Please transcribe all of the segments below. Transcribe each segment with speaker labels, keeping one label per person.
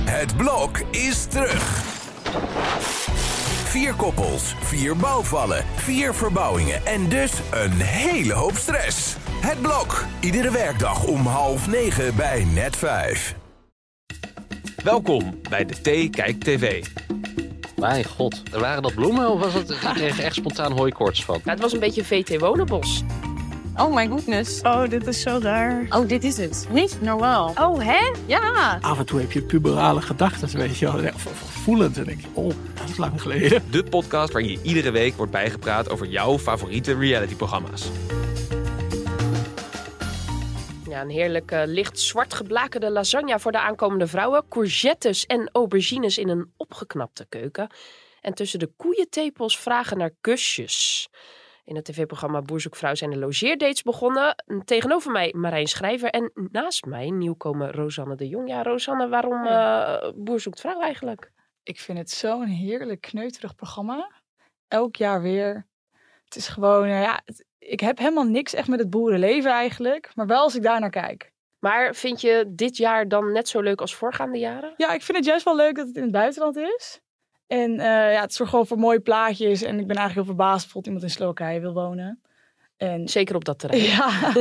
Speaker 1: Het blok is terug. Vier koppels, vier bouwvallen, vier verbouwingen en dus een hele hoop stress. Het blok, iedere werkdag om half negen bij net vijf.
Speaker 2: Welkom bij de Thee Kijk TV.
Speaker 3: Mijn god, waren dat bloemen of was het... Ik kreeg echt spontaan hooikoorts van.
Speaker 4: Ja, het was een beetje VT Wonenbos.
Speaker 5: Oh my goodness.
Speaker 6: Oh, dit is zo raar.
Speaker 5: Oh, dit is het. Niet normaal.
Speaker 4: Oh, hè?
Speaker 5: Ja.
Speaker 7: af en toe heb je puberale gedachten, weet je wel. Of- of Gevoelens. En denk je, oh, dat is lang geleden.
Speaker 2: De podcast waarin je iedere week wordt bijgepraat over jouw favoriete realityprogramma's.
Speaker 4: Ja, een heerlijk eh, licht zwart geblakerde lasagne voor de aankomende vrouwen. Courgettes en aubergines in een opgeknapte keuken. En tussen de koeientepels vragen naar kusjes. In het tv-programma Boerzoekvrouw zijn de logeerdates begonnen. Tegenover mij Marijn Schrijver en naast mij nieuwkomer Rosanne de Jong. Ja, Rosanne, waarom eh Boer zoekt vrouw eigenlijk?
Speaker 6: Ik vind het zo'n heerlijk kneuterig programma. Elk jaar weer. Het is gewoon, nou ja, het- ik heb helemaal niks echt met het boerenleven eigenlijk. Maar wel als ik daar naar kijk.
Speaker 4: Maar vind je dit jaar dan net zo leuk als voorgaande jaren?
Speaker 6: Ja, ik vind het juist wel leuk dat het in het buitenland is. En eh, ja, het zorgt gewoon voor mooie plaatjes. En ik ben eigenlijk heel verbaasd bijvoorbeeld iemand in Slowakije wil wonen. En
Speaker 4: Zeker op dat terrein.
Speaker 6: ja,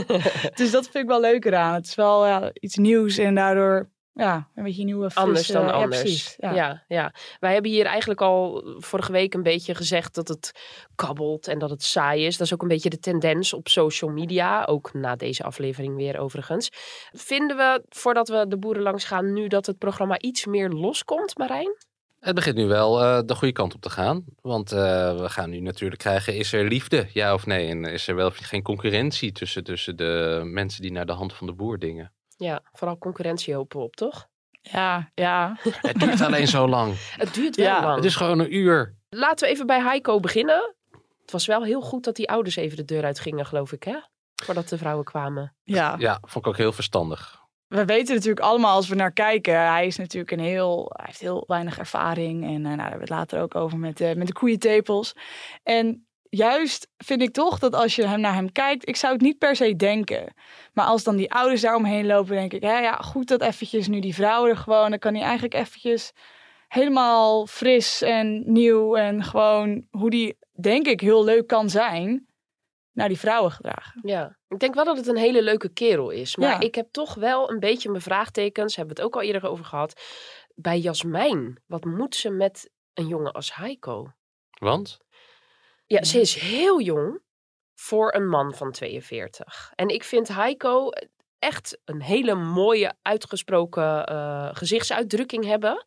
Speaker 6: dus dat vind ik wel leuk eraan. Het is wel ja, iets nieuws en daardoor ja, een beetje nieuwe frisse,
Speaker 4: anders dan
Speaker 6: Dus, eh, ja,
Speaker 4: anders.
Speaker 6: precies,
Speaker 4: ja. Ja, wij hebben hier eigenlijk al vorige week een beetje gezegd dat het kabbelt en dat het saai is. Dat is ook een beetje de tendens op social media, ook na deze aflevering weer overigens. Vinden we, voordat we de boeren langs gaan, nu dat het programma iets meer loskomt, Marijn?
Speaker 3: Het begint nu wel eh, de goede kant op te gaan. Want eh, we gaan nu natuurlijk krijgen, is er liefde, ja of nee? En is er wel of geen concurrentie tussen, tussen de mensen die naar de hand van de boer dingen?
Speaker 4: Ja, vooral concurrentie hopen we op, toch?
Speaker 6: Ja, ja.
Speaker 3: Het duurt alleen zo lang.
Speaker 4: Het duurt wel
Speaker 6: Ja, dus-
Speaker 4: lang.
Speaker 3: Het is gewoon een uur.
Speaker 4: Laten we even bij Heiko beginnen. Het was wel heel goed dat die ouders even de deur uit gingen, geloof ik, hè? Voordat de vrouwen kwamen.
Speaker 6: ja.
Speaker 3: Ja, vond ik ook heel verstandig.
Speaker 6: We weten natuurlijk allemaal als we naar kijken. Hij is natuurlijk een heel, hij heeft heel weinig ervaring. En eh, nou, daar hebben we het later ook over met, eh, met de koeientepels. En juist vind ik toch dat als je hem naar hem kijkt, ik zou het niet per se denken. Maar als dan die ouders daar omheen lopen, denk ik, ja, ja, goed dat eventjes nu die vrouwen er gewoon. Dan kan hij eigenlijk eventjes helemaal fris en nieuw en gewoon hoe die, denk ik, heel leuk kan zijn, naar die vrouwen gedragen.
Speaker 4: Ja, ik denk wel dat het een hele leuke kerel is. Maar
Speaker 6: Ja.
Speaker 4: ik heb toch wel een beetje mijn vraagtekens, hebben we het ook al eerder over gehad, bij Jasmijn. Wat moet ze met een jongen als Heiko?
Speaker 3: Want?
Speaker 4: Ja, ze is heel jong voor een man van 42. En ik vind Heiko echt een hele mooie, uitgesproken eh, gezichtsuitdrukking hebben.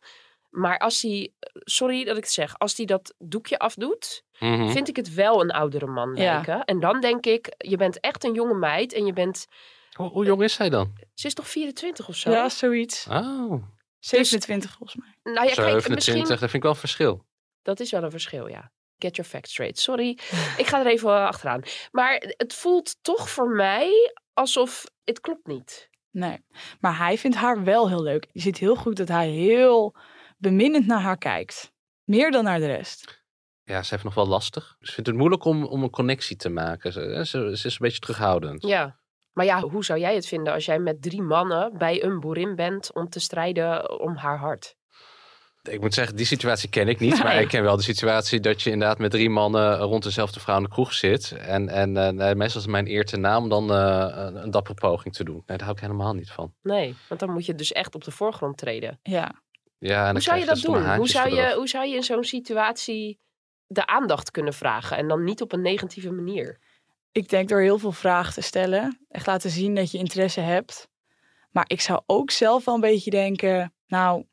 Speaker 4: Maar als hij, sorry dat ik het zeg, als hij dat doekje afdoet,
Speaker 3: Mhm.
Speaker 4: vind ik het wel een oudere man
Speaker 6: Ja.
Speaker 4: lijken. En dan denk ik, je bent echt een jonge meid en je bent...
Speaker 3: Hoe, hoe jong is zij dan?
Speaker 4: Ze is toch 24 of zo?
Speaker 6: Ja, zoiets.
Speaker 3: Oh,
Speaker 6: 27 volgens mij.
Speaker 4: Nou Ah, ja, kijk,
Speaker 3: 27,
Speaker 4: misschien...
Speaker 3: dat vind ik wel een verschil.
Speaker 4: Dat is wel een verschil, ja. Get your facts straight. Sorry, ik ga er even eh, achteraan. Maar het voelt toch voor mij alsof het klopt niet.
Speaker 6: Nee, maar hij vindt haar wel heel leuk. Je ziet heel goed dat hij heel beminnend naar haar kijkt. Meer dan naar de rest.
Speaker 3: Ja, ze heeft nog wel lastig. Ze vindt het moeilijk om, om een connectie te maken. Ze, ze, ze is een beetje terughoudend.
Speaker 4: Ja. Maar ja, hoe zou jij het vinden als jij met drie mannen bij een boerin bent om te strijden om haar hart?
Speaker 3: Ik moet zeggen, die situatie ken ik niet. Maar
Speaker 4: Nee.
Speaker 3: ik ken wel de situatie dat je inderdaad met drie mannen rond dezelfde vrouw in de kroeg zit. En, en eh, nee, meestal is het mijn eer te naam om dan eh, een, een dappere poging te doen. Nee, daar hou ik helemaal niet van.
Speaker 4: Nee, want dan moet je dus echt op de voorgrond treden.
Speaker 6: Ja.
Speaker 3: Ja, en dan
Speaker 4: Hoe zou
Speaker 3: krijg
Speaker 4: je dat
Speaker 3: stomme
Speaker 4: doen? Hoe
Speaker 3: haantjes
Speaker 4: zou je,
Speaker 3: gedrag.
Speaker 4: hoe zou je in zo'n situatie de aandacht kunnen vragen en dan niet op een negatieve manier?
Speaker 6: Ik denk door heel veel vragen te stellen. Echt laten zien dat je interesse hebt. Maar ik zou ook zelf wel een beetje denken... Nou,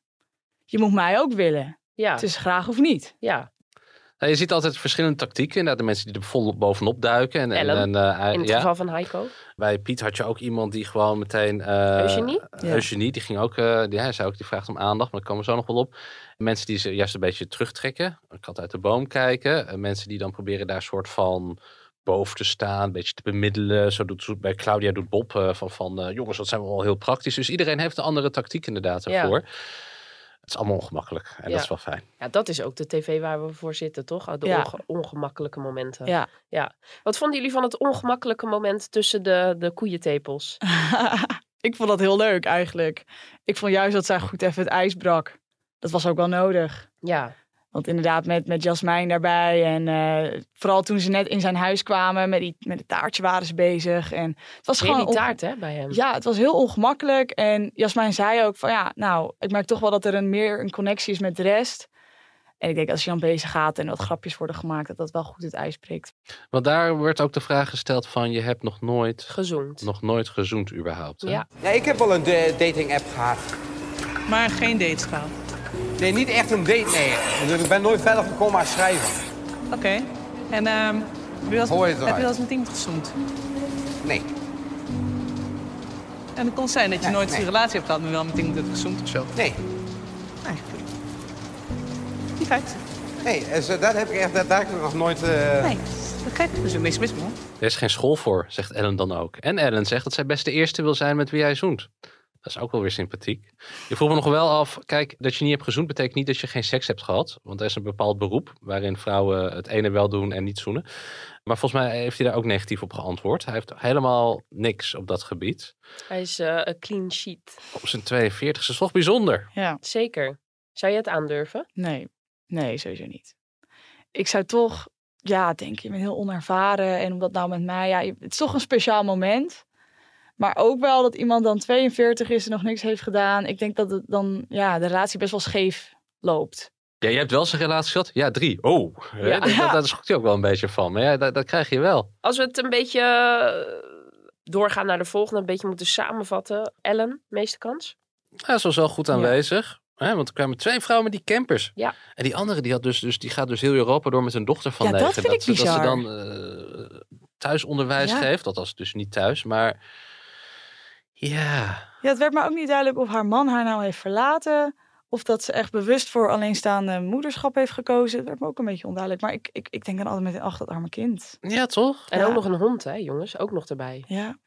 Speaker 6: je moet mij ook willen.
Speaker 4: Ja,
Speaker 6: Het is graag of niet.
Speaker 4: ja.
Speaker 3: Nou, je ziet altijd verschillende tactieken. Inderdaad, de mensen die er vol bovenop duiken. En, en,
Speaker 4: Ellen,
Speaker 3: en, eh,
Speaker 4: in het
Speaker 3: ja.
Speaker 4: geval van Heiko.
Speaker 3: Bij Piet had je ook iemand die gewoon meteen... eh,
Speaker 4: Eugenie?
Speaker 3: eh,
Speaker 6: Ja.
Speaker 3: Eugenie, die ging ook... eh, die, hij zei ook, die vraagt om aandacht, maar daar komen we zo nog wel op. Mensen die ze juist een beetje terugtrekken. Een kat uit de boom kijken. Eh, mensen die dan proberen daar soort van boven te staan, een beetje te bemiddelen. Zo doet zo- bij Claudia doet Bob eh, van, van eh, jongens, dat zijn we wel heel praktisch. Dus iedereen heeft een andere tactiek inderdaad
Speaker 4: Ja.
Speaker 3: ervoor. Het is allemaal ongemakkelijk en
Speaker 4: Ja.
Speaker 3: dat is wel fijn.
Speaker 4: Ja, dat is ook de tv waar we voor zitten, toch? Ah, De
Speaker 6: Ja.
Speaker 4: onge- ongemakkelijke momenten.
Speaker 6: Ja.
Speaker 4: Wat vonden jullie van het ongemakkelijke moment tussen de, de
Speaker 6: Ah.
Speaker 4: koeientepels?
Speaker 6: ik vond dat heel leuk eigenlijk. Ik vond juist dat zij goed even het ijs brak. Dat was ook wel nodig.
Speaker 4: Ja,
Speaker 6: Want inderdaad, met, met Jasmijn daarbij. En eh, vooral toen ze net in zijn huis kwamen, met, die, met het taartje waren ze bezig. En het was
Speaker 4: weer
Speaker 6: gewoon.
Speaker 4: die
Speaker 6: onge-
Speaker 4: taart hè, bij hem.
Speaker 6: Ja, het was heel ongemakkelijk. En Jasmijn zei ook van ja, nou, ik merk toch wel dat er een, meer een connectie is met de rest. En ik denk als je dan bezig gaat en wat grapjes worden gemaakt, dat dat wel goed het ijs breekt.
Speaker 3: Want daar werd ook de vraag gesteld van je hebt nog nooit,
Speaker 4: Gezoend.
Speaker 3: nog nooit gezoend überhaupt. Hè?
Speaker 4: Ja.
Speaker 8: Nee, ik heb wel een eh, dating app gehad.
Speaker 9: Maar geen dates gehad.
Speaker 8: Nee, niet echt een date, nee. Dus ik ben nooit verder gekomen als schrijven.
Speaker 9: Oké. En ehm, heb, je wel eens-
Speaker 8: Hoor je het
Speaker 9: heb je
Speaker 8: eruit?
Speaker 9: wel eens met iemand gezoend?
Speaker 8: Nee.
Speaker 9: En het kon zijn dat je
Speaker 8: Nee,
Speaker 9: nooit
Speaker 8: nee.
Speaker 9: een relatie hebt gehad, maar wel met iemand hebt gezoend of zo.
Speaker 8: Nee.
Speaker 9: Nee. Niet feit.
Speaker 8: Nee, eh, zo- dat heb ik echt daadwerkelijk nog nooit... eh,
Speaker 9: Nee, dat gek. Er is ook niks mis mee.
Speaker 3: Er is geen school voor, zegt Ellen dan ook. En Ellen zegt dat zij best de eerste wil zijn met wie hij zoent. Dat is ook wel weer sympathiek. Je vroeg me nog wel af, kijk, dat je niet hebt gezoend betekent niet dat je geen seks hebt gehad. Want er is een bepaald beroep waarin vrouwen het ene wel doen en niet zoenen. Maar volgens mij heeft hij daar ook negatief op geantwoord. Hij heeft helemaal niks op dat gebied.
Speaker 4: Hij is eh, een clean sheet.
Speaker 3: Op zijn 42 is toch bijzonder.
Speaker 6: Ja,
Speaker 4: Zeker. Zou je het aandurven?
Speaker 6: nee. Nee, sowieso niet. Ik zou toch, ja, denk je, met heel onervaren. En omdat nou met mij, ja, je- het is toch een speciaal moment. Maar ook wel dat iemand dan 42 is en nog niks heeft gedaan. Ik denk dat het dan, ja, de relatie best wel scheef loopt.
Speaker 3: Ja, je hebt wel zijn relatie gehad? Ja, drie. Oh, hè,
Speaker 4: Ja.
Speaker 3: dat- dat- daar schrok hij ook wel een beetje van. Maar ja, dat, dat krijg je wel.
Speaker 4: Als we het een beetje eh, doorgaan naar de volgende, een beetje moeten samenvatten. Ellen, meeste kans?
Speaker 3: Ja, ze was wel goed aanwezig. Hè, want er kwamen twee vrouwen met die campers.
Speaker 4: Ja.
Speaker 3: En die andere die, had dus, dus, die gaat dus heel Europa door met een dochter van
Speaker 6: Ja, dat
Speaker 3: negen.
Speaker 6: vind ik
Speaker 3: ze-
Speaker 6: bizar.
Speaker 3: Dat ze dan eh, thuisonderwijs
Speaker 6: Ja.
Speaker 3: geeft. Dat was dus niet thuis. Maar ja,
Speaker 6: Ja, het werd me ook niet duidelijk of haar man haar nou heeft verlaten. Of dat ze echt bewust voor alleenstaande moederschap heeft gekozen. Het werd me ook een beetje onduidelijk. Maar ik, ik, ik denk dan altijd met ach, dat arme kind.
Speaker 3: ja toch?
Speaker 4: En
Speaker 6: Ja.
Speaker 4: ook nog een hond, hè, jongens? Ook nog erbij.
Speaker 6: Ja,
Speaker 3: En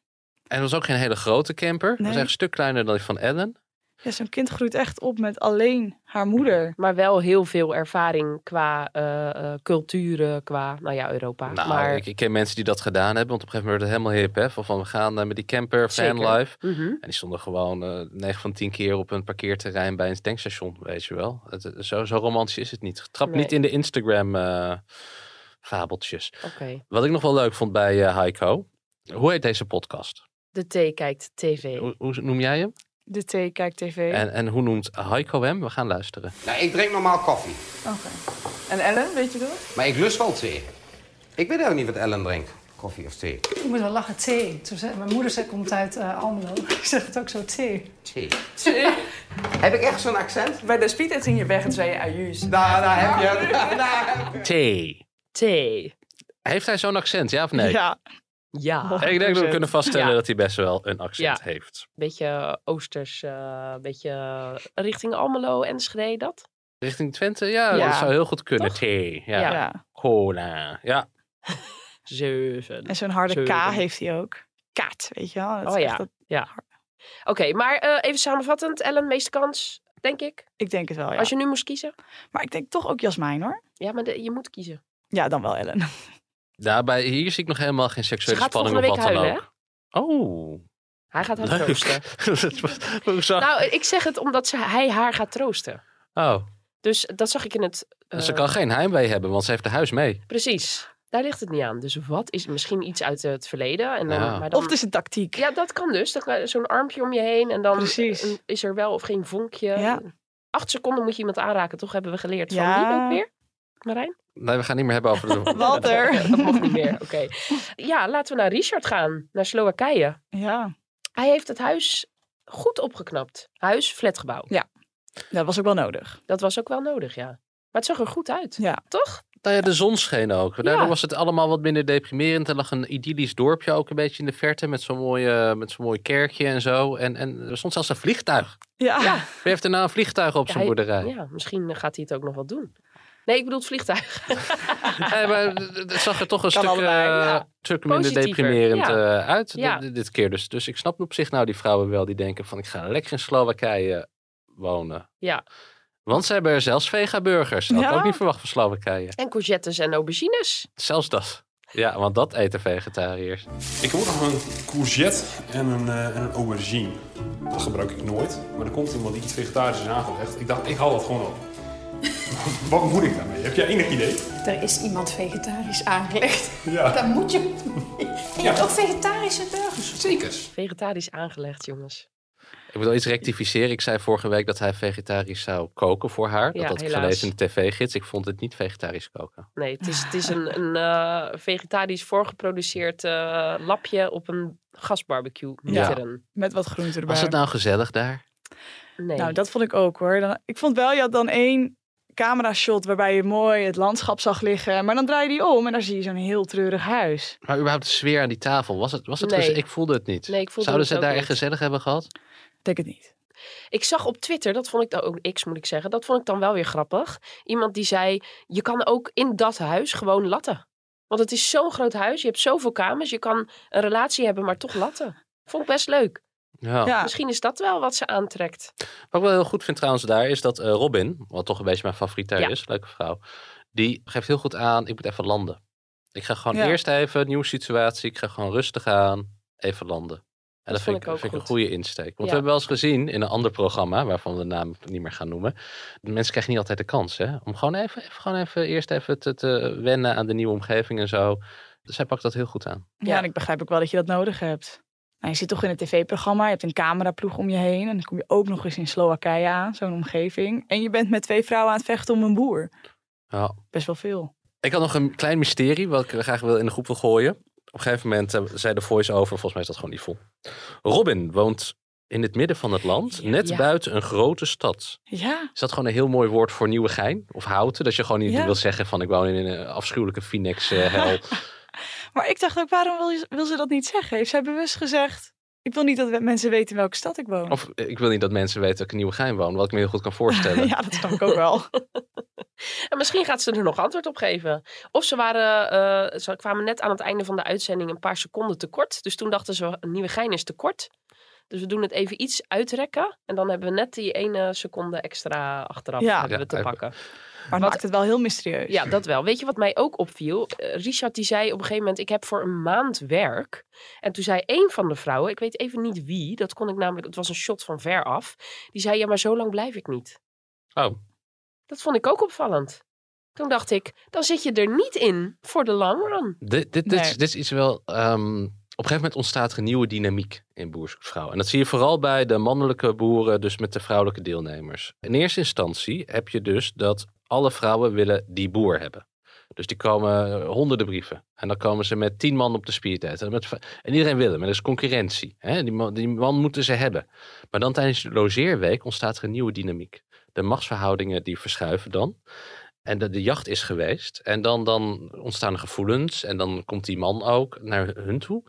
Speaker 3: het was ook geen hele grote camper. Het was
Speaker 6: Nee.
Speaker 3: echt een stuk kleiner dan die van Ellen.
Speaker 6: ja zo'n kind groeit echt op met alleen haar moeder.
Speaker 4: Maar wel heel veel ervaring qua eh, eh, culturen, qua, nou ja, Europa.
Speaker 3: Nou,
Speaker 4: maar,
Speaker 3: ik, ik ken mensen die dat gedaan hebben. Want op een gegeven moment werd het helemaal hip. Hè, van, van, we gaan eh, met die camper,
Speaker 4: Zeker.
Speaker 3: fanlife.
Speaker 4: Mhm.
Speaker 3: En die stonden gewoon eh 9 van 10 keer op een parkeerterrein bij een tankstation, weet je wel. Het, het- zo, zo romantisch is het niet. Trap
Speaker 4: Nee.
Speaker 3: niet in de Instagram-fabeltjes.
Speaker 4: Oké.
Speaker 3: Wat ik nog wel leuk vond bij eh, Heiko. Hoe heet deze podcast?
Speaker 4: De T kijkt TV.
Speaker 3: Hoe, hoe noem jij hem?
Speaker 6: De thee, kijk tv.
Speaker 3: En, en hoe noemt Heiko hem? We gaan luisteren.
Speaker 8: Nou, ik drink normaal koffie.
Speaker 9: En Ellen, weet je dat?
Speaker 8: Maar ik lust wel thee. Ik weet ook niet wat Ellen drinkt. Koffie of thee.
Speaker 10: Ik moet wel lachen, thee. Toen zei- mijn moeder zei, komt uit eh Almelo. Ik zeg het ook zo, thee.
Speaker 8: Thee. Heb ik echt zo'n accent?
Speaker 9: Bij de speed ging je weg en zei je ajuus.
Speaker 8: Daar, daar heb je hem.
Speaker 3: T.
Speaker 4: T.
Speaker 3: Heeft hij zo'n accent, ja of nee?
Speaker 6: Ja,
Speaker 4: Ja.
Speaker 3: Ik denk dat we kunnen vaststellen
Speaker 4: Ja.
Speaker 3: dat hij best wel een accent
Speaker 4: Ja.
Speaker 3: heeft.
Speaker 4: Beetje oosters, eh, een beetje richting Almelo, Enschede, dat.
Speaker 3: Richting Twente, ja,
Speaker 6: Ja.
Speaker 3: dat zou heel goed kunnen. T. Ja.
Speaker 6: ja.
Speaker 4: Ja.
Speaker 3: Cola. Ja.
Speaker 4: Zeven.
Speaker 6: En zo'n harde
Speaker 4: Zo-
Speaker 6: K heeft hij ook. Kaat, weet je wel. Dat is
Speaker 4: Oh
Speaker 6: echt
Speaker 4: ja.
Speaker 6: dat-
Speaker 4: Oké, maar eh, even samenvattend. Ellen, meeste kans, denk ik.
Speaker 6: ik denk het wel, ja.
Speaker 4: Als je nu moest kiezen.
Speaker 6: Maar ik denk toch ook Jasmijn, hoor.
Speaker 4: Ja, maar de- je moet kiezen.
Speaker 6: Ja, dan wel Ellen.
Speaker 3: Daarbij, hier zie ik nog helemaal geen seksuele
Speaker 4: Ze gaat
Speaker 3: spanning of
Speaker 4: volgende
Speaker 3: wat dan
Speaker 4: week
Speaker 3: ook. Oh,
Speaker 4: Hij gaat haar troosten.
Speaker 3: leuk. Hoezo?
Speaker 4: Nou, ik zeg het omdat ze, hij haar gaat troosten.
Speaker 3: oh,
Speaker 4: Dus dat zag ik in het... eh,
Speaker 3: ze kan geen heimwee hebben, want ze heeft de huis mee.
Speaker 4: Precies. Daar ligt het niet aan. Dus wat is misschien iets uit het verleden? En dan,
Speaker 3: Ja.
Speaker 4: maar dan-
Speaker 6: Of het is een tactiek.
Speaker 4: Ja, dat kan dus. Dan kan- Zo'n armpje om je heen en dan
Speaker 6: Precies.
Speaker 4: een- is er wel of geen vonkje.
Speaker 6: Ja.
Speaker 4: Acht seconden moet je iemand aanraken, toch hebben we geleerd. Van
Speaker 6: Ja.
Speaker 4: wie ook weer? Marijn?
Speaker 3: Nee, we gaan niet meer hebben over de...
Speaker 6: Walter.
Speaker 4: Dat mocht niet meer, oké. Ja, laten we naar Richard gaan, naar Slowakije.
Speaker 6: Ja,
Speaker 4: Hij heeft het huis goed opgeknapt. Huis, flatgebouw.
Speaker 6: dat was ook wel nodig.
Speaker 4: Dat was ook wel nodig, ja. Maar het zag er goed uit,
Speaker 6: Ja.
Speaker 4: toch?
Speaker 3: Nou ja, de zon scheen ook. Daardoor
Speaker 4: Ja.
Speaker 3: was het allemaal wat minder deprimerend. Er lag een idyllisch dorpje ook een beetje in de verte met zo'n mooie, met zo'n mooi kerkje en zo. En, en er stond zelfs een vliegtuig.
Speaker 6: ja.
Speaker 3: Wie heeft er nou een vliegtuig op
Speaker 4: Ja,
Speaker 3: zijn
Speaker 4: hij-
Speaker 3: boerderij?
Speaker 4: Ja, misschien gaat hij het ook nog wel doen. Nee, ik bedoel het vliegtuig.
Speaker 3: Ja, maar het zag er toch een
Speaker 4: Kan
Speaker 3: stuk,
Speaker 4: allebei,
Speaker 3: eh,
Speaker 4: ja.
Speaker 3: stuk minder
Speaker 4: Positiever,
Speaker 3: deprimerend
Speaker 4: ja.
Speaker 3: eh, uit d-
Speaker 4: Ja.
Speaker 3: d- dit keer. Dus, dus ik snap op zich nou die vrouwen wel die denken van ik ga lekker in Slowakije wonen.
Speaker 4: Ja.
Speaker 3: Want ze hebben er zelfs vegaburgers. Dat had ik
Speaker 6: Ja.
Speaker 3: ook niet verwacht van Slowakije.
Speaker 4: En courgettes en aubergines.
Speaker 3: Zelfs dat. Ja, want dat eten vegetariërs.
Speaker 11: Ik heb ook nog een courgette en een, eh, en een aubergine. Dat gebruik ik nooit. Maar er komt iemand die iets vegetarisch is aangelegd. Ik dacht, ik haal dat gewoon op. Wat moet ik daarmee? Heb jij enig idee?
Speaker 12: Er is iemand vegetarisch aangelegd.
Speaker 11: Ja.
Speaker 12: Dan moet je. Je hebt ook vegetarische burgers.
Speaker 11: Zeker.
Speaker 4: Vegetarisch aangelegd, jongens.
Speaker 3: Ik wil iets rectificeren. Ik zei vorige week dat hij vegetarisch zou koken voor haar.
Speaker 4: Ja,
Speaker 3: dat had ik
Speaker 4: helaas.
Speaker 3: gelezen in de tv-gids. Ik vond het niet vegetarisch koken.
Speaker 4: Nee, het is, het is een, een eh, vegetarisch voorgeproduceerd eh, lapje op een gasbarbecue.
Speaker 3: Ja.
Speaker 4: Mitteren.
Speaker 6: Met wat groenten erbij.
Speaker 3: Was het nou gezellig daar?
Speaker 4: Nee.
Speaker 6: Nou, dat vond ik ook hoor. Dan, ik vond wel, je had dan één camera-shot waarbij je mooi het landschap zag liggen. Maar dan draai je die om en daar zie je zo'n heel treurig huis.
Speaker 3: Maar überhaupt de sfeer aan die tafel. Was het, was het
Speaker 6: Nee.
Speaker 3: gez- Ik voelde het niet.
Speaker 4: Nee, ik voelde
Speaker 3: Zouden
Speaker 4: het
Speaker 3: ze
Speaker 4: ook
Speaker 3: daar
Speaker 4: niet.
Speaker 3: echt gezellig hebben gehad?
Speaker 6: Denk het niet.
Speaker 4: Ik zag op Twitter, dat vond ik dan ook X moet ik zeggen, dat vond ik dan wel weer grappig. Iemand die zei: Je kan ook in dat huis gewoon latten. Want het is zo'n groot huis, je hebt zoveel kamers, je kan een relatie hebben, maar toch latten. Vond ik best leuk.
Speaker 3: Ja.
Speaker 4: Misschien is dat wel wat ze aantrekt.
Speaker 3: Wat ik wel heel goed vind trouwens daar is dat eh, Robin, wat toch een beetje mijn favoriete
Speaker 4: Ja.
Speaker 3: is, leuke vrouw, die geeft heel goed aan, ik moet even landen. Ik ga gewoon
Speaker 4: Ja.
Speaker 3: eerst even, nieuwe situatie, ik ga gewoon rustig aan, even landen. En dat,
Speaker 4: Dat
Speaker 3: vind ik,
Speaker 4: vond ik ook
Speaker 3: vind ik een
Speaker 4: goed.
Speaker 3: goede insteek. Want we
Speaker 4: Ja.
Speaker 3: hebben wel eens gezien in een ander programma, waarvan we de naam niet meer gaan noemen, de mensen krijgen niet altijd de kans hè, om gewoon even, even, gewoon even eerst even te, te wennen aan de nieuwe omgeving en zo. Dus zij pakt dat heel goed aan.
Speaker 6: Ja, en ik begrijp ook wel dat je dat nodig hebt. Nou, je zit toch in een tv-programma, je hebt een cameraploeg om je heen. En dan kom je ook nog eens in Slowakije aan, zo'n omgeving. En je bent met twee vrouwen aan het vechten om een boer.
Speaker 3: Ja.
Speaker 6: Best wel veel.
Speaker 3: Ik had nog een klein mysterie wat ik graag wil in de groep wil gooien. Op een gegeven moment eh, zei de voice-over, volgens mij is dat gewoon niet vol. Robin woont in het midden van het land, net
Speaker 6: Ja.
Speaker 3: buiten een grote stad.
Speaker 6: Ja.
Speaker 3: Is dat gewoon een heel mooi woord voor Nieuwegein of Houten? Dat je gewoon niet
Speaker 6: Ja.
Speaker 3: wil zeggen van ik woon in een afschuwelijke eh, Phoenix-hel.
Speaker 6: Maar ik dacht ook, waarom wil, je- wil ze dat niet zeggen? Heeft zij bewust gezegd, ik wil niet dat we- mensen weten in welke stad ik woon.
Speaker 3: of eh, ik wil niet dat mensen weten dat ik in Nieuwegein woon, wat ik me heel goed kan voorstellen.
Speaker 6: ja, dat snap ik ook wel.
Speaker 4: En misschien gaat ze er nog antwoord op geven. Of ze, waren, eh, ze kwamen net aan het einde van de uitzending een paar seconden tekort. Dus toen dachten ze, een nieuwe gein is tekort. Dus we doen het even iets uitrekken. En dan hebben we net die ene seconde extra achteraf
Speaker 6: Ja.
Speaker 4: hebben we
Speaker 6: Ja,
Speaker 4: te
Speaker 6: even-
Speaker 4: pakken.
Speaker 6: Maar het maakt het wel heel mysterieus.
Speaker 4: Ja, dat wel. Weet je wat mij ook opviel? Eh, Richard die zei op een gegeven moment, ik heb voor een maand werk. En toen zei een van de vrouwen, ik weet even niet wie. Dat kon ik namelijk, het was een shot van ver af. Die zei, ja maar zo lang blijf ik niet.
Speaker 3: Oh,
Speaker 4: Dat vond ik ook opvallend. Toen dacht ik, dan zit je er niet in voor de long run.
Speaker 3: Dit, dit, dit, is- dit is iets wel. ehm, op een gegeven moment ontstaat er een nieuwe dynamiek in boersvrouw. En dat zie je vooral bij de mannelijke boeren, dus met de vrouwelijke deelnemers. In eerste instantie heb je dus dat alle vrouwen willen die boer hebben. Dus die komen eh, honderden brieven. En dan komen ze met tien man op de speedtijd. En, met, v- en iedereen wil hem. En dat is concurrentie. Hè? Die, man, die man moeten ze hebben. Maar dan tijdens de logeerweek ontstaat er een nieuwe dynamiek. De machtsverhoudingen die verschuiven dan. En de, de jacht is geweest. En dan, dan ontstaan er gevoelens. En dan komt die man ook naar hun toe.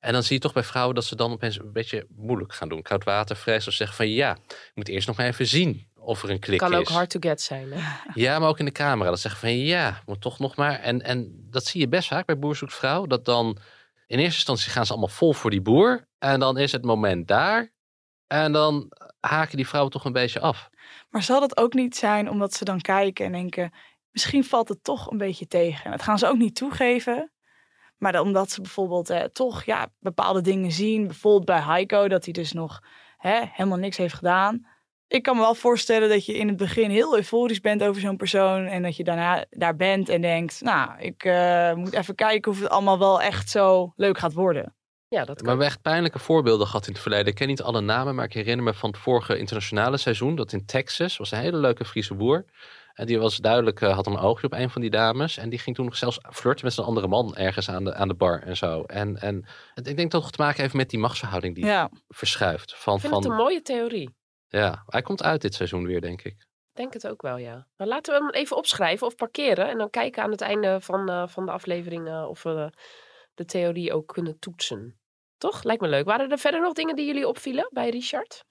Speaker 3: En dan zie je toch bij vrouwen dat ze dan opeens een beetje moeilijk gaan doen. Koud water vrees of zeggen van ja, ik moet eerst nog maar even zien of er een klik
Speaker 4: kan
Speaker 3: is.
Speaker 4: ook hard to get zijn. Hè?
Speaker 3: Ja, maar ook in de camera. Dat zeggen van ja, moet toch nog maar. En, en dat zie je best vaak bij Boer zoekt vrouw. Dat dan in eerste instantie gaan ze allemaal vol voor die boer. En dan is het moment daar. En dan haken die vrouwen toch een beetje af.
Speaker 6: Maar zal dat ook niet zijn omdat ze dan kijken en denken: misschien valt het toch een beetje tegen? En dat gaan ze ook niet toegeven. Maar dan omdat ze bijvoorbeeld eh, toch ja, bepaalde dingen zien. Bijvoorbeeld bij Heiko, dat hij dus nog hè, helemaal niks heeft gedaan. Ik kan me wel voorstellen dat je in het begin heel euforisch bent over zo'n persoon. En dat je daarna daar bent en denkt: Nou, ik eh, moet even kijken of het allemaal wel echt zo leuk gaat worden.
Speaker 4: Ja, dat
Speaker 3: We hebben echt pijnlijke voorbeelden gehad in het verleden. Ik ken niet alle namen, maar ik herinner me van het vorige internationale seizoen. Dat in Texas was een hele leuke Friese boer. En die was duidelijk, eh, had een oogje op een van die dames. En die ging toen nog zelfs flirten met zijn andere man ergens aan de, aan de bar en zo. En, en het- ik denk dat het te maken heeft met die machtsverhouding die
Speaker 4: Ja.
Speaker 3: verschuift. Van,
Speaker 4: Ik vind
Speaker 3: van,
Speaker 4: het een mooie theorie.
Speaker 3: Ja, hij komt uit dit seizoen weer, denk ik.
Speaker 4: Ik denk het ook wel, ja. Maar laten we hem even opschrijven of parkeren. En dan kijken aan het einde van, eh, van de aflevering eh, of we eh, de theorie ook kunnen toetsen. Toch? Lijkt me leuk. Waren er verder nog dingen die jullie opvielen bij Richard?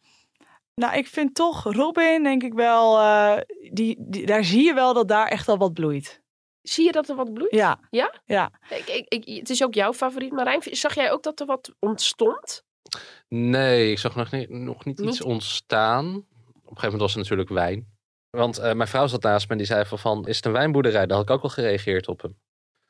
Speaker 6: Nou, ik vind toch Robin, denk ik wel, eh, die, die, daar zie je wel dat daar echt al wat bloeit.
Speaker 4: Zie je dat er wat bloeit?
Speaker 6: Ja.
Speaker 4: Ja?
Speaker 6: Ja.
Speaker 4: Ik, ik, ik- het is ook jouw favoriet, Marijn. Zag jij ook dat er wat ontstond?
Speaker 3: Nee, ik zag nog niet, nog niet iets
Speaker 4: Niet?
Speaker 3: ontstaan. Op een gegeven moment was het natuurlijk wijn. Want eh, mijn vrouw zat naast me en die zei van, van, is het een wijnboerderij? Daar had ik ook wel gereageerd op hem.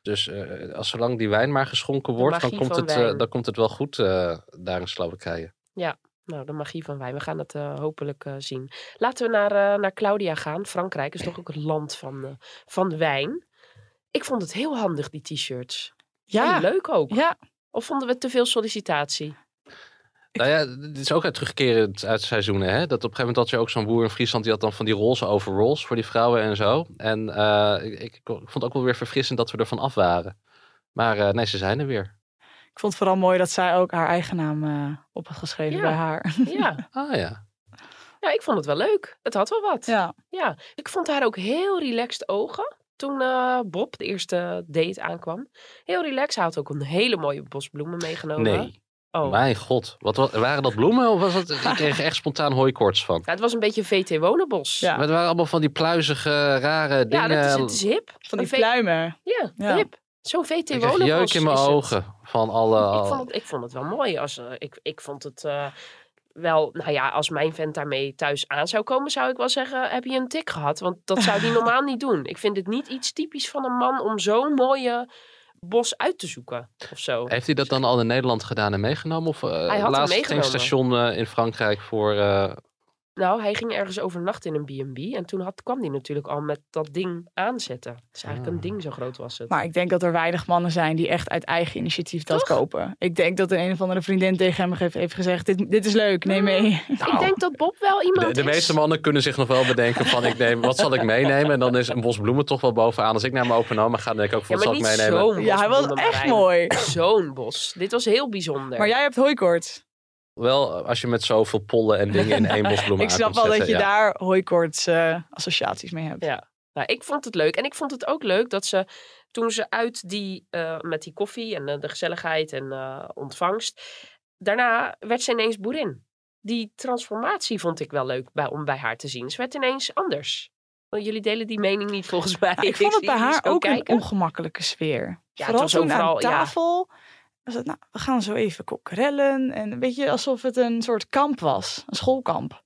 Speaker 3: Dus eh, als zolang die wijn maar geschonken wordt, dan
Speaker 4: magie
Speaker 3: komt,
Speaker 4: van
Speaker 3: het, eh,
Speaker 4: wijn.
Speaker 3: dan komt het wel goed eh, daar in Slowakije.
Speaker 4: Ja, nou, de magie van wijn. We gaan het eh, hopelijk eh, zien. Laten we naar, eh, naar Claudia gaan. Frankrijk is toch ook het land van, eh, van wijn. Ik vond het heel handig, die t-shirts.
Speaker 6: Ja.
Speaker 4: En leuk ook.
Speaker 6: Ja.
Speaker 4: Of vonden we te veel sollicitatie?
Speaker 3: Nou ja, dit is ook uit terugkerend uit seizoenen. Hè? Dat op een gegeven moment had je ook zo'n boer in Friesland. Die had dan van die roze overalls voor die vrouwen en zo. En eh, ik, ik vond het ook wel weer verfrissend dat we ervan af waren. Maar eh, nee, ze zijn er weer.
Speaker 6: Ik vond het vooral mooi dat zij ook haar eigen naam eh, op had geschreven
Speaker 4: Ja.
Speaker 6: bij haar.
Speaker 4: Ja.
Speaker 3: Ah ja.
Speaker 4: Nou, ik vond het wel leuk. Het had wel wat.
Speaker 6: Ja.
Speaker 4: Ja, ik vond haar ook heel relaxed ogen toen eh, Bob de eerste date aankwam. Heel relaxed. Hij had ook een hele mooie bosbloemen meegenomen.
Speaker 3: Nee.
Speaker 4: Oh.
Speaker 3: Mijn god. Wat, wa- waren dat bloemen of was dat... Ik kreeg echt spontaan hooikoorts van.
Speaker 4: Ja, het was een beetje VT Wonenbos.
Speaker 3: Maar het waren allemaal van die pluizige, rare
Speaker 4: Ja,
Speaker 3: dingen.
Speaker 4: dat is, het is hip.
Speaker 6: Van die
Speaker 4: Een V-
Speaker 6: pluimen.
Speaker 4: Ja,
Speaker 6: Ja.
Speaker 4: hip. Zo'n VT
Speaker 3: Ik kreeg
Speaker 4: Wonenbos
Speaker 3: jeuk in mijn
Speaker 4: is het.
Speaker 3: ogen. Van alle...
Speaker 4: Ik vond, ik vond het wel mooi. Als, eh, ik, ik vond het eh, wel, nou ja, als mijn vent daarmee thuis aan zou komen, zou ik wel zeggen, heb je een tik gehad? Want dat zou die normaal niet doen. Ik vind het niet iets typisch van een man om zo'n mooie bos uit te zoeken of zo.
Speaker 3: Heeft hij dat dan al in Nederland gedaan en meegenomen? Of eh
Speaker 4: had hem
Speaker 3: laatst
Speaker 4: meegenomen.
Speaker 3: tankstation eh, in Frankrijk voor... eh,
Speaker 4: Nou, hij ging ergens overnachten in een B&B en toen had, kwam hij natuurlijk al met dat ding aanzetten. Het is eigenlijk een ding, zo groot was het.
Speaker 6: Hmm. Maar ik denk dat er weinig mannen zijn die echt uit eigen initiatief dat kopen. Ik denk dat een, een of andere vriendin tegen hem heeft, heeft gezegd: dit, dit is leuk, neem mee.
Speaker 4: Mm. Ik denk dat Bob wel iemand
Speaker 3: De, de
Speaker 4: is.
Speaker 3: meeste mannen kunnen zich nog wel bedenken van ik neem, wat zal ik meenemen? En dan is een bos bloemen toch wel bovenaan. Als ik naar mijn openomen ga, dan denk ik ook,
Speaker 4: Ja,
Speaker 3: wat
Speaker 4: maar
Speaker 3: zal ik
Speaker 4: niet
Speaker 3: meenemen?
Speaker 4: zo'n
Speaker 6: Ja, hij was
Speaker 4: bosbloemen,
Speaker 6: echt
Speaker 4: Marijn.
Speaker 6: mooi.
Speaker 4: Zo'n bos. Dit was heel bijzonder.
Speaker 6: Maar jij hebt hooikoorts.
Speaker 3: Wel, als je met zoveel pollen en dingen in één bos bloemen
Speaker 6: ik snap wel dat je daar hooikoorts eh, associaties mee hebt.
Speaker 4: Ja, nou, ik vond het leuk. En ik vond het ook leuk dat ze toen ze uit die, eh, met die koffie en eh, de gezelligheid en eh, ontvangst, daarna werd ze ineens boerin. Die transformatie vond ik wel leuk bij, om bij haar te zien. Ze werd ineens anders. Want jullie delen die mening niet volgens mij.
Speaker 6: Nou, ik vond het
Speaker 4: zie
Speaker 6: bij
Speaker 4: jullie
Speaker 6: haar
Speaker 4: zo
Speaker 6: ook
Speaker 4: kijken.
Speaker 6: een ongemakkelijke sfeer.
Speaker 4: Ja,
Speaker 6: vooral
Speaker 4: het was
Speaker 6: toen
Speaker 4: overal,
Speaker 6: aan
Speaker 4: ja.
Speaker 6: tafel. Was het, nou, we gaan zo even kokkerellen. En een beetje alsof het een soort kamp was. Een schoolkamp.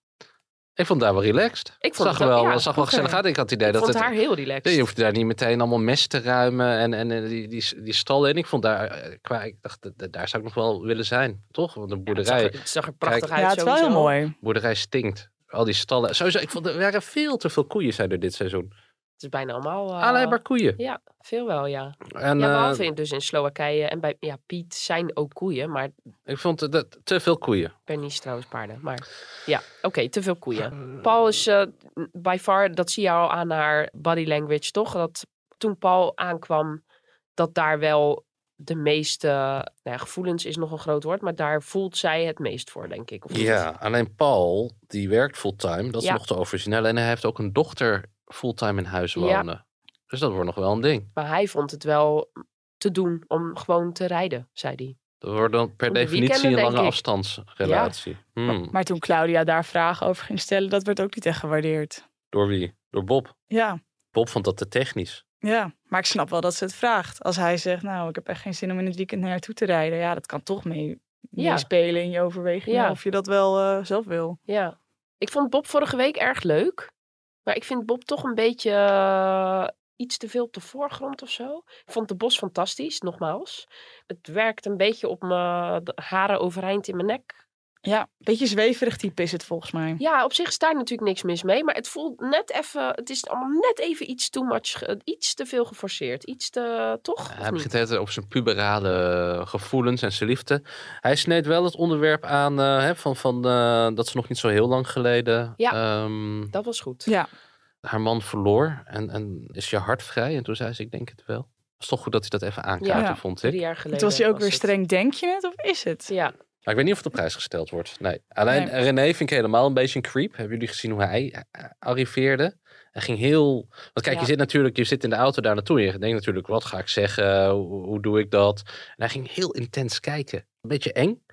Speaker 3: Ik vond daar wel relaxed.
Speaker 4: Ik vond
Speaker 3: zag
Speaker 4: het ook-
Speaker 3: wel,
Speaker 4: ja,
Speaker 3: zag wel
Speaker 4: oké.
Speaker 3: gezellig uit. Ik had het idee
Speaker 4: Ik
Speaker 3: dat
Speaker 4: vond
Speaker 3: het,
Speaker 4: haar heel relaxed.
Speaker 3: Nee, je hoeft daar niet meteen allemaal mest te ruimen en, en eh, die, die, die stallen. En ik vond daar, eh, qua, ik dacht, d- d- daar zou ik nog wel willen zijn, toch? Want een
Speaker 4: het, zag
Speaker 3: boerderij,
Speaker 4: er, het zag er prachtig
Speaker 3: Kijk,
Speaker 4: uit.
Speaker 6: ja, het is wel heel
Speaker 4: sowieso.
Speaker 6: mooi.
Speaker 3: boerderij stinkt. Al die stallen. Sowieso, ik vond er waren veel te veel koeien zijn er dit seizoen.
Speaker 4: Het is bijna allemaal... eh,
Speaker 3: Alleen maar koeien.
Speaker 4: Ja, veel wel, ja.
Speaker 3: En,
Speaker 4: ja,
Speaker 3: eh,
Speaker 4: behalve in- dus in Slowakije en bij ja, Piet zijn ook koeien, maar
Speaker 3: ik vond het- dat, te veel koeien.
Speaker 4: Bernice trouwens paarden, maar ja, oké, te veel koeien. Paul is eh, by far, dat zie je al aan haar body language, toch? Dat toen Paul aankwam, dat daar wel de meeste, nou ja, gevoelens is nog een groot woord, maar daar voelt zij het meest voor, denk ik. of niet?
Speaker 3: Ja, alleen Paul, die werkt fulltime. Dat is
Speaker 4: Ja.
Speaker 3: nog te origineel. En hij heeft ook een dochter fulltime in huis
Speaker 4: Ja.
Speaker 3: wonen. Dus dat wordt nog wel een ding.
Speaker 4: Maar hij vond het wel te doen om gewoon te rijden, zei hij.
Speaker 3: Dat wordt dan per
Speaker 4: Op de
Speaker 3: definitie
Speaker 4: weekenden,
Speaker 3: een
Speaker 4: denk
Speaker 3: lange
Speaker 4: ik.
Speaker 3: afstandsrelatie. Hmm,
Speaker 6: Maar toen Claudia daar vragen over ging stellen, dat werd ook niet echt gewaardeerd.
Speaker 3: Door wie? Door Bob.
Speaker 6: Ja,
Speaker 3: Bob vond dat te technisch.
Speaker 6: ja. Maar ik snap wel dat ze het vraagt. Als hij zegt, nou, ik heb echt geen zin om in het weekend naar haar toe te rijden. Ja, dat kan toch mee,
Speaker 4: Ja.
Speaker 6: meespelen in je overwegingen.
Speaker 4: Ja.
Speaker 6: Of je dat wel eh, zelf wil.
Speaker 4: Ja. Ik vond Bob vorige week erg leuk. Maar ik vind Bob toch een beetje eh, iets te veel op de voorgrond of zo. Ik vond de bos fantastisch, nogmaals. Het werkt een beetje op mijn de haren overeind in mijn nek.
Speaker 6: Ja, een beetje zweverig type is het volgens mij.
Speaker 4: Ja, op zich is daar natuurlijk niks mis mee. Maar het voelt net even... Het is allemaal net even iets too much. ge- Iets te veel geforceerd. Iets te... Toch? Of
Speaker 3: Hij
Speaker 4: niet?
Speaker 3: begint de hele tijd over zijn puberale gevoelens en zijn liefde. Hij sneed wel het onderwerp aan eh, hè, van, van eh, dat ze nog niet zo heel lang geleden
Speaker 4: Ja.
Speaker 3: ehm,
Speaker 4: Dat was goed.
Speaker 6: Ja,
Speaker 3: haar man verloor. En, en is je hart vrij? En toen zei ze, ik denk het wel. Het is toch goed dat hij dat even aankaartte,
Speaker 6: Ja.
Speaker 3: vond ik.
Speaker 4: Drie jaar geleden
Speaker 6: toen was hij ook weer
Speaker 4: het.
Speaker 6: streng. Denk je het of is het?
Speaker 4: Ja.
Speaker 3: Maar ik weet niet of het op prijs gesteld wordt. Nee. Alleen
Speaker 6: Nee.
Speaker 3: René vind ik helemaal een beetje een creep. Hebben jullie gezien hoe hij eh, arriveerde? Hij ging heel. Want kijk,
Speaker 4: Ja.
Speaker 3: je zit natuurlijk, je zit in de auto daar naartoe. Je denkt natuurlijk, wat ga ik zeggen? Hoe, hoe doe ik dat? En hij ging heel intens kijken. Een beetje eng.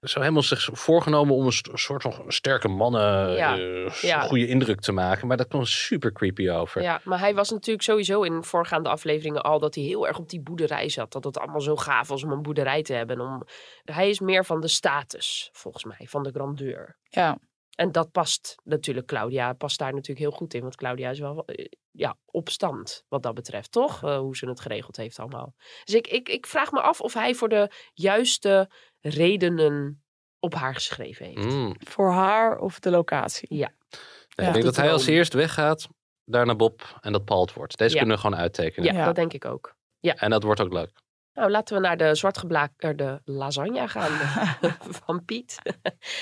Speaker 3: Zo helemaal zich voorgenomen om een st- soort van sterke mannen
Speaker 4: Ja.
Speaker 3: eh, s-
Speaker 4: Ja.
Speaker 3: goede indruk te maken. Maar dat kwam super creepy over.
Speaker 4: Ja, maar hij was natuurlijk sowieso in voorgaande afleveringen al dat hij heel erg op die boerderij zat. Dat het allemaal zo gaaf was om een boerderij te hebben. Om... Hij is meer van de status, volgens mij, van de grandeur.
Speaker 6: Ja.
Speaker 4: En dat past natuurlijk, Claudia past daar natuurlijk heel goed in. Want Claudia is wel eh, ja, op stand wat dat betreft, toch? Eh, hoe ze het geregeld heeft allemaal. Dus ik, ik, ik vraag me af of hij voor de juiste redenen op haar geschreven heeft.
Speaker 3: Mm.
Speaker 6: Voor haar of de locatie.
Speaker 4: Ja.
Speaker 3: Nee, ik denk dat hij als eerst weggaat, daar naar Bob en dat Paalt wordt. Deze
Speaker 4: Ja.
Speaker 3: kunnen we gewoon uittekenen.
Speaker 4: Ja, dat denk ik ook.
Speaker 3: En dat wordt ook leuk.
Speaker 4: Nou, laten we naar de zwartgeblakerde lasagne gaan van Piet.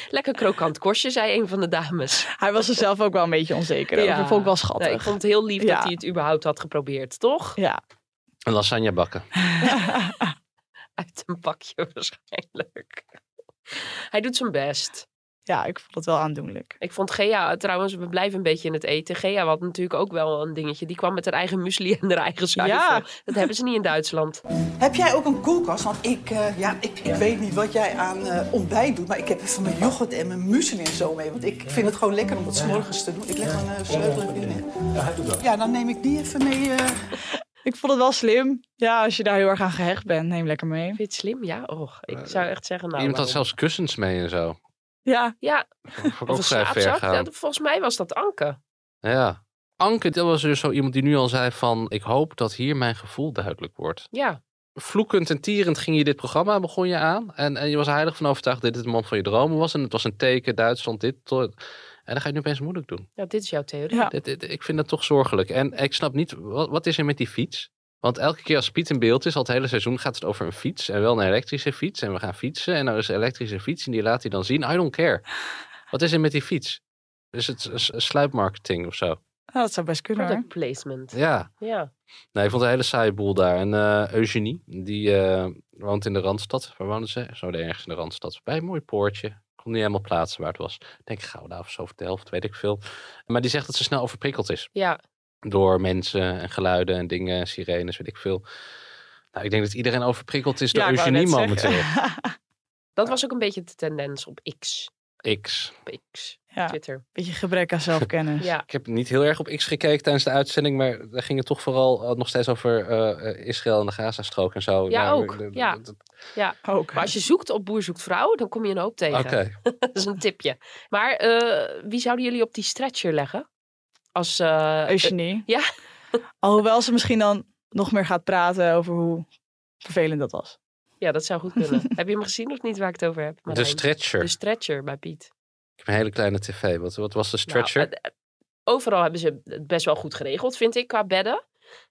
Speaker 4: Lekker krokant korstje, zei een van de dames.
Speaker 6: Hij was er zelf ook wel een beetje onzeker over. Vond ik wel schattig.
Speaker 4: Nee, ik vond het heel lief
Speaker 6: Ja.
Speaker 4: dat hij het überhaupt had geprobeerd, toch?
Speaker 6: Ja.
Speaker 3: Een lasagne bakken.
Speaker 4: Nou, Uit een pakje waarschijnlijk. Hij doet zijn best.
Speaker 6: Ja, ik vond het wel aandoenlijk.
Speaker 4: Ik vond Gea, trouwens, we blijven een beetje in het eten. Gea had natuurlijk ook wel een dingetje. Die kwam met haar eigen muesli en haar eigen zuivel.
Speaker 9: Ja.
Speaker 4: Dat hebben ze niet in Duitsland.
Speaker 9: Heb jij ook een koelkast? Want ik, eh, ja, ik, ik weet niet wat jij aan eh, ontbijt doet. Maar ik heb even mijn yoghurt en mijn muesli en zo mee. Want ik vind het gewoon lekker om dat 's morgens te doen. Ik leg een eh, sleutel in binnen.
Speaker 11: Ja, hij doet dat.
Speaker 9: Ja, dan neem ik die even mee. eh.
Speaker 6: Ik vond het wel slim. Ja, als je daar heel erg aan gehecht bent, neem lekker mee. Vind
Speaker 4: je het slim? Ja, och. Ik zou echt zeggen, nou...
Speaker 3: Eh, Iemand had
Speaker 4: waarom?
Speaker 3: zelfs kussens mee en zo.
Speaker 6: Ja.
Speaker 4: Ja.
Speaker 3: Vond ik
Speaker 4: Of
Speaker 3: ook
Speaker 4: een
Speaker 3: vrij ver
Speaker 4: slaapzak. Ja,
Speaker 3: gaan.
Speaker 4: dat- volgens mij was dat Anke.
Speaker 3: Ja. Anke, dat was dus zo iemand die nu al zei van... ik hoop dat hier mijn gevoel duidelijk wordt.
Speaker 4: Ja.
Speaker 3: Vloekend en tierend ging je dit programma, begon je aan. En, en je was er heilig van overtuigd dat dit de man van je dromen was. En het was een teken, Duitsland, dit. to- En dan ga je het nu opeens moeilijk doen.
Speaker 4: Ja, dit is jouw theorie.
Speaker 3: Dit- dit- ik vind dat toch zorgelijk. En ik snap niet, wat, wat is er met die fiets? Want elke keer als Piet in beeld is, al het hele seizoen gaat het over een fiets. En wel een elektrische fiets. En we gaan fietsen. En er is een elektrische fiets. En die laat hij dan zien. I don't care. Wat is er met die fiets? Is het s- s- sluipmarketing of zo?
Speaker 6: Nou, dat zou best kunnen hoor.
Speaker 4: Product placement.
Speaker 3: Ja.
Speaker 4: Ja.
Speaker 3: Nee, ik vond het een hele saaie boel daar. En eh, Eugenie, die eh, woont in de Randstad. Waar woonde ze? Zo ergens in de Randstad. Bij een mooi poortje. Kon niet helemaal plaatsen waar het was. Ik denk Gouda of zo, of Delft, weet ik veel. Maar die zegt dat ze snel overprikkeld is.
Speaker 4: Ja.
Speaker 3: Door mensen en geluiden en dingen, sirenes, weet ik veel. Nou, ik denk dat iedereen overprikkeld is door
Speaker 4: Ja, ik wou
Speaker 3: Eugenie
Speaker 4: net
Speaker 3: momenteel.
Speaker 4: Dat was ook een beetje de tendens op X.
Speaker 3: X.
Speaker 4: Op X.
Speaker 6: Ja.
Speaker 4: Twitter.
Speaker 6: Beetje gebrek aan zelfkennis.
Speaker 4: Ja.
Speaker 3: Ik heb niet heel erg op X gekeken tijdens de uitzending, maar daar ging het toch vooral eh, nog steeds over eh, eh, Israël en de Gazastrook en zo.
Speaker 4: Ja,
Speaker 3: Nou,
Speaker 4: ook.
Speaker 3: de- de-
Speaker 4: Ja. ja. Maar als je zoekt op boer zoekt vrouw, dan kom je een hoop tegen.
Speaker 3: Oké.
Speaker 4: dat is een tipje. Maar eh, wie zouden jullie op die stretcher leggen? Als, eh,
Speaker 6: Eugenie.
Speaker 4: ja.
Speaker 6: Alhoewel ze misschien dan nog meer gaat praten over hoe vervelend dat was.
Speaker 4: eh, ja, dat zou goed kunnen. heb je hem gezien of niet waar ik het over heb? Marijn?
Speaker 3: stretcher.
Speaker 4: De stretcher bij Piet.
Speaker 3: Ik heb een hele kleine tv. Wat, wat was de stretcher?
Speaker 4: Nou, eh, eh, overal hebben ze het best wel goed geregeld, vind ik, qua bedden.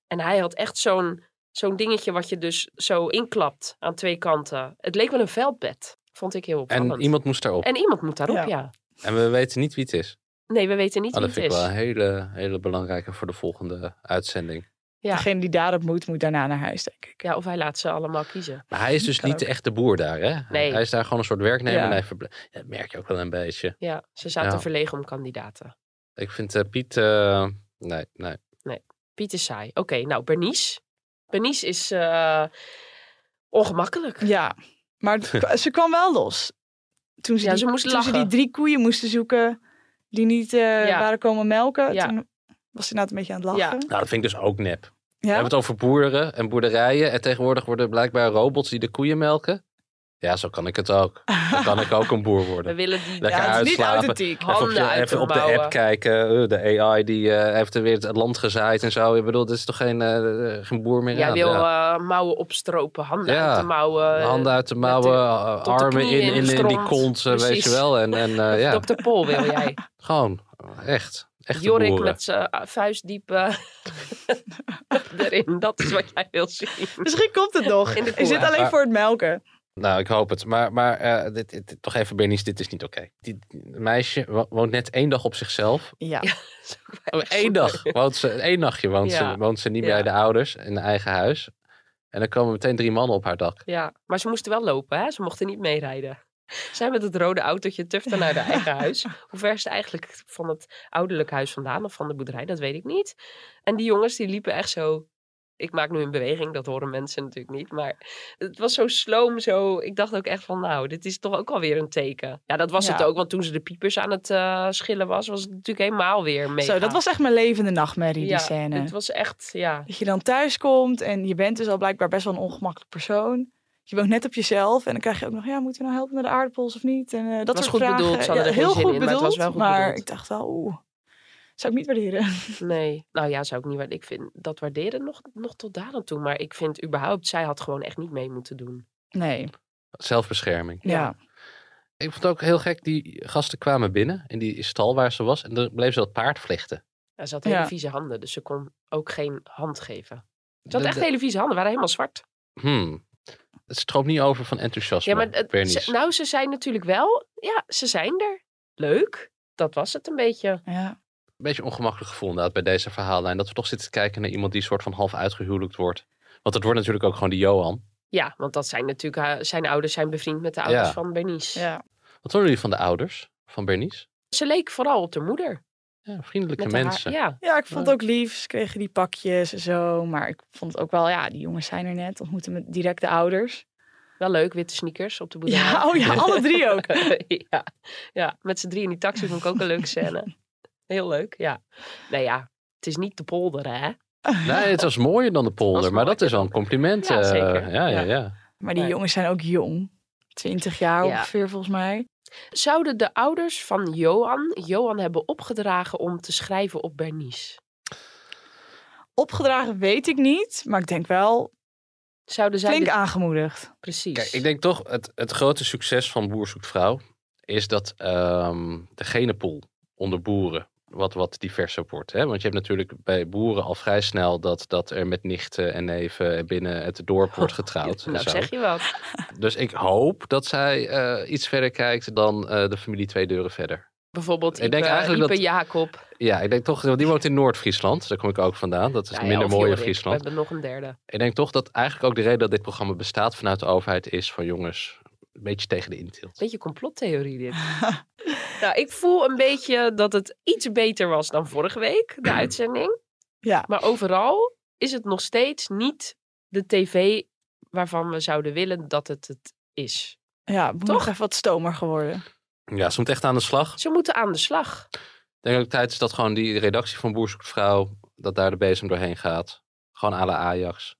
Speaker 4: En hij had echt zo'n zo'n dingetje wat je dus zo inklapt aan twee kanten. Het leek wel een veldbed, vond ik heel
Speaker 3: en
Speaker 4: opvallend.
Speaker 3: iemand moest daarop.
Speaker 4: En
Speaker 3: En,
Speaker 4: iemand moet daarop, ja.
Speaker 3: we weten niet wie het is.
Speaker 4: Nee, we weten niet
Speaker 3: Ah,
Speaker 4: wie
Speaker 3: dat vind
Speaker 4: het
Speaker 3: ik
Speaker 4: is.
Speaker 3: wel een hele, hele belangrijke voor de volgende uitzending.
Speaker 4: Ja.
Speaker 6: Degene die daarop moet, moet daarna naar huis, denk ik.
Speaker 4: Ja, of hij laat ze allemaal kiezen.
Speaker 3: Maar hij is dus
Speaker 4: Kan
Speaker 3: niet de echte boer daar, hè? Hij-
Speaker 4: Nee.
Speaker 3: Hij is daar gewoon een soort werknemer.
Speaker 4: Ja.
Speaker 3: En hij verble- Ja, dat merk je ook wel een beetje.
Speaker 4: Ja, ze zaten
Speaker 3: Ja.
Speaker 4: verlegen om kandidaten.
Speaker 3: Ik vind eh, Piet... eh, nee, nee.
Speaker 4: Nee, Piet is saai. Oké, nou, Bernice. Bernice is eh, ongemakkelijk.
Speaker 6: Ja, maar het- ze kwam wel los. Toen ze,
Speaker 4: Ja,
Speaker 6: die,
Speaker 4: ze moest
Speaker 6: toen ze die
Speaker 4: lachen.
Speaker 6: drie koeien moesten zoeken die niet eh,
Speaker 4: Ja.
Speaker 6: waren komen melken.
Speaker 4: Ja.
Speaker 6: Toen was ze inderdaad een beetje aan het lachen.
Speaker 3: Nou, dat vind ik dus ook nep.
Speaker 6: Ja?
Speaker 3: We hebben het over boeren en boerderijen. En tegenwoordig worden blijkbaar robots die de koeien melken. Ja, zo kan ik het ook. Dan kan ik ook een boer worden.
Speaker 4: We willen die
Speaker 3: Lekker
Speaker 4: Ja, het is niet
Speaker 3: uitslapen.
Speaker 4: authentiek.
Speaker 3: Even op,
Speaker 4: Handen
Speaker 3: je-
Speaker 4: uit
Speaker 3: even
Speaker 4: de
Speaker 3: op de
Speaker 4: mouwen.
Speaker 3: app kijken. Eh, de AI die eh, heeft er weer het land gezaaid en zo. Ik bedoel, dit is toch geen, eh, geen boer meer
Speaker 4: Jij
Speaker 3: aan.
Speaker 4: wil
Speaker 3: ja.
Speaker 4: eh, mouwen opstropen, handen
Speaker 3: Ja.
Speaker 4: uit de mouwen. eh,
Speaker 3: Handen uit de mouwen, eh,
Speaker 4: tot de
Speaker 3: armen in,
Speaker 4: knieën in de
Speaker 3: in, in, die
Speaker 4: stront.
Speaker 3: kont, eh, weet
Speaker 4: Precies.
Speaker 3: je wel. En, en, eh, ja.
Speaker 4: Dr. Pol wil jij.
Speaker 3: Gewoon, eh, echt. Echt
Speaker 4: Jorik
Speaker 3: boeren.
Speaker 4: met zijn eh, vuist diep eh, erin. Dat is wat jij wil zien.
Speaker 6: Misschien komt het nog.
Speaker 4: In de
Speaker 6: Ik zit
Speaker 4: koe.
Speaker 6: alleen
Speaker 3: Maar-
Speaker 6: voor het melken.
Speaker 3: Nou, ik hoop het. Maar, maar eh, dit, dit- toch even, Bernice, dit is niet oké. Dit meisje wo- woont net één dag op zichzelf.
Speaker 6: Ja.
Speaker 3: Eén dag. Woont ze, één nachtje woont,
Speaker 4: Ja.
Speaker 3: ze, woont ze niet
Speaker 4: Ja.
Speaker 3: bij de ouders in haar eigen huis. En dan komen meteen drie mannen op haar dak.
Speaker 4: Ja, maar ze moesten wel lopen, hè? Ze mochten niet meerijden. Zij met het rode autootje tufte naar haar eigen huis. Hoe ver is het eigenlijk van het ouderlijk huis vandaan of van de boerderij? Dat weet ik niet. En die jongens die liepen echt zo. Ik maak nu een beweging, dat horen mensen natuurlijk niet. Maar het was zo sloom, zo. Ik dacht ook echt van, nou, dit is toch ook alweer een teken. Ja, dat was
Speaker 6: Ja.
Speaker 4: het ook, want toen ze de piepers aan het eh, schillen was, was het natuurlijk helemaal weer mee.
Speaker 6: Zo, dat was echt mijn levende nachtmerrie,
Speaker 4: Ja,
Speaker 6: die scène.
Speaker 4: Het was echt, ja.
Speaker 6: Dat je dan thuis komt en je bent dus al blijkbaar best wel een ongemakkelijk persoon. Je woont net op jezelf en dan krijg je ook nog, ja, moeten we nou helpen met de aardappels of niet? En eh,
Speaker 4: was
Speaker 6: dat soort
Speaker 4: goed
Speaker 6: vragen.
Speaker 4: bedoeld, ze hadden
Speaker 6: Ja,
Speaker 4: er geen
Speaker 6: heel
Speaker 4: zin
Speaker 6: goed
Speaker 4: in, maar
Speaker 6: bedoeld,
Speaker 4: het was wel goed
Speaker 6: maar
Speaker 4: bedoeld.
Speaker 6: ik dacht wel, oeh, zou ik niet waarderen.
Speaker 4: Nee, nou ja, zou ik niet waarderen. Ik vind dat waarderen nog, nog tot daar aan toe. Maar ik vind überhaupt, zij had gewoon echt niet mee moeten doen.
Speaker 6: Nee.
Speaker 3: Zelfbescherming.
Speaker 6: Ja.
Speaker 3: Ik vond het ook heel gek, die gasten kwamen binnen in die stal waar ze was en dan bleef ze dat paard vlechten.
Speaker 4: Ja, ze had hele
Speaker 3: Ja.
Speaker 4: vieze handen, dus ze kon ook geen hand geven. Ze had
Speaker 3: Dat-
Speaker 4: echt
Speaker 3: dat-
Speaker 4: hele vieze handen, waren helemaal zwart.
Speaker 3: Hmm. Het stroomt niet over van enthousiasme.
Speaker 4: Ja, maar het-
Speaker 3: Weer
Speaker 4: ze-
Speaker 3: niet.
Speaker 4: nou, ze zijn natuurlijk wel. Ja, ze zijn er. Leuk. Dat was het een beetje.
Speaker 6: Ja.
Speaker 3: Een beetje ongemakkelijk gevoel inderdaad bij deze verhaallijn. Dat we toch zitten te kijken naar iemand die soort van half uitgehuwelijkd wordt. Want het wordt natuurlijk ook gewoon die Johan.
Speaker 4: Ja, want dat zijn natuurlijk. haar- zijn ouders zijn bevriend met de ouders
Speaker 3: Ja.
Speaker 4: van Bernice.
Speaker 3: Wat horen jullie van de ouders van Bernice?
Speaker 4: Ze leek vooral op de moeder.
Speaker 3: Ja, vriendelijke
Speaker 4: Met haar-
Speaker 3: mensen.
Speaker 4: ja.
Speaker 6: Ja, ik vond het ook lief. Ze kregen die pakjes en zo. Maar ik vond het ook wel, ja, die jongens zijn er net. Ontmoeten met direct de ouders.
Speaker 4: Wel leuk, witte sneakers op de boerderij.
Speaker 6: Ja, oh ja, alle drie ook.
Speaker 4: ja. ja, met z'n drie in die taxi vond ik ook een leuke scène. Heel leuk, ja. Nou ja, het is niet de polder, hè?
Speaker 3: Nee, het was mooier dan de polder, maar dat is wel een compliment.
Speaker 4: Ja,
Speaker 3: eh,
Speaker 4: zeker.
Speaker 3: ja, ja,
Speaker 4: Ja.
Speaker 3: ja.
Speaker 6: Maar die jongens zijn ook jong. 20 jaar
Speaker 4: Ja.
Speaker 6: ongeveer volgens mij.
Speaker 4: Zouden de ouders van Johan Johan hebben opgedragen om te schrijven op Bernice?
Speaker 6: Opgedragen weet ik niet, maar ik denk wel
Speaker 4: Zouden zij
Speaker 6: flink
Speaker 4: dit-
Speaker 6: aangemoedigd.
Speaker 4: Precies.
Speaker 3: Kijk, ik denk toch, het, het grote succes van Boer zoekt vrouw is dat ehm de genenpool onder boeren wat, wat diverser wordt. Hè? Want je hebt natuurlijk bij boeren al vrij snel dat, dat er met nichten en neven binnen het dorp wordt getrouwd. en
Speaker 4: Nou,
Speaker 3: zo.
Speaker 4: zeg je wat.
Speaker 3: Dus ik hoop dat zij eh, iets verder kijkt dan eh, de familie twee deuren verder.
Speaker 4: Bijvoorbeeld
Speaker 3: Ik
Speaker 4: Ipe,
Speaker 3: denk eigenlijk
Speaker 4: Ipe
Speaker 3: dat-
Speaker 4: Jacob.
Speaker 3: Ja, ik denk toch, want die woont in Noord-Friesland. Daar kom ik ook vandaan. Dat is
Speaker 4: Nou ja,
Speaker 3: minder
Speaker 4: of
Speaker 3: mooie
Speaker 4: Jorik.
Speaker 3: Friesland.
Speaker 4: We hebben nog een derde.
Speaker 3: Ik denk toch dat eigenlijk ook de reden dat dit programma bestaat vanuit de overheid is van jongens, een beetje tegen de intilt.
Speaker 4: Beetje complottheorie dit. nou, ik voel een beetje dat het iets beter was dan vorige week, de uitzending.
Speaker 6: Ja.
Speaker 4: Maar overal is het nog steeds niet de tv waarvan we zouden willen dat het het is.
Speaker 6: Ja, het moet nog even wat stomer geworden.
Speaker 3: Ja, ze moet echt aan de slag.
Speaker 4: Ze moeten aan de slag.
Speaker 3: Ik denk ook tijd is dat gewoon die redactie van Boer zoekt vrouw, dat daar de bezem doorheen gaat. Gewoon à la Ajax.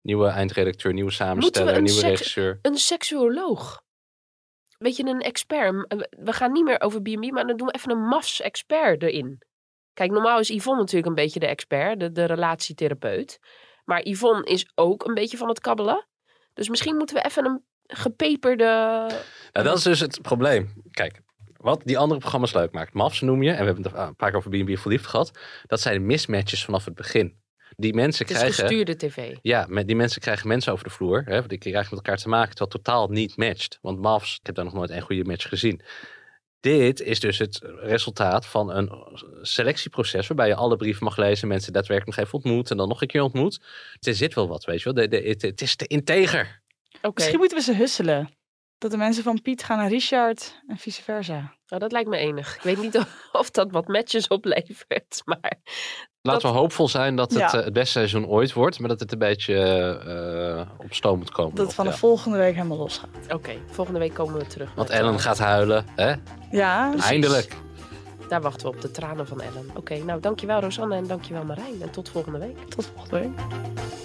Speaker 3: Nieuwe eindredacteur, nieuwe samensteller, nieuwe
Speaker 4: seks-
Speaker 3: regisseur.
Speaker 4: een seksuoloog? Weet je, een expert. M- we- We gaan niet meer over B&B, maar dan doen we even een MAFS-expert erin. Kijk, normaal is Yvonne natuurlijk een beetje de expert, de, de relatietherapeut. Maar Yvonne is ook een beetje van het kabbelen. Dus misschien moeten we even een gepeperde...
Speaker 3: Nou, dat is dus het probleem. Kijk, wat die andere programma's leuk maakt. Mafs noem je, en we hebben het een paar keer over B&B verliefd gehad. Dat zijn mismatches vanaf het begin. Die mensen
Speaker 4: Het is
Speaker 3: krijgen...
Speaker 4: gestuurde tv.
Speaker 3: Ja, met die mensen krijgen mensen over de vloer. Hè, want die krijgen met elkaar te maken, terwijl het totaal niet matcht. Want Mavs, ik heb daar nog nooit één goede match gezien. Dit is dus het resultaat van een selectieproces waarbij je alle brieven mag lezen, mensen daadwerkelijk nog even ontmoet en dan nog een keer ontmoet. Er zit wel wat, weet je wel. De- de- het, het is te integer.
Speaker 6: Misschien moeten we ze husselen. Dat de mensen van Piet gaan naar Richard en vice versa.
Speaker 4: Nou, dat lijkt me enig. Ik weet niet of, of dat wat matches oplevert, maar...
Speaker 3: Laten we hoopvol zijn dat het
Speaker 4: Ja.
Speaker 3: eh, het beste seizoen ooit wordt, maar dat het een beetje eh, op stoom moet komen.
Speaker 6: Dat het
Speaker 3: nog,
Speaker 6: van de
Speaker 3: ja.
Speaker 6: volgende week helemaal los gaat.
Speaker 4: Oké, volgende week komen we terug.
Speaker 3: Want
Speaker 4: met- eh,
Speaker 3: Ellen gaat huilen, hè?
Speaker 6: Ja,
Speaker 3: Eindelijk.
Speaker 4: Daar wachten we op de tranen van Ellen. Oké, nou dankjewel Rosanne en dankjewel Marijn. En tot volgende week.
Speaker 6: Tot volgende week.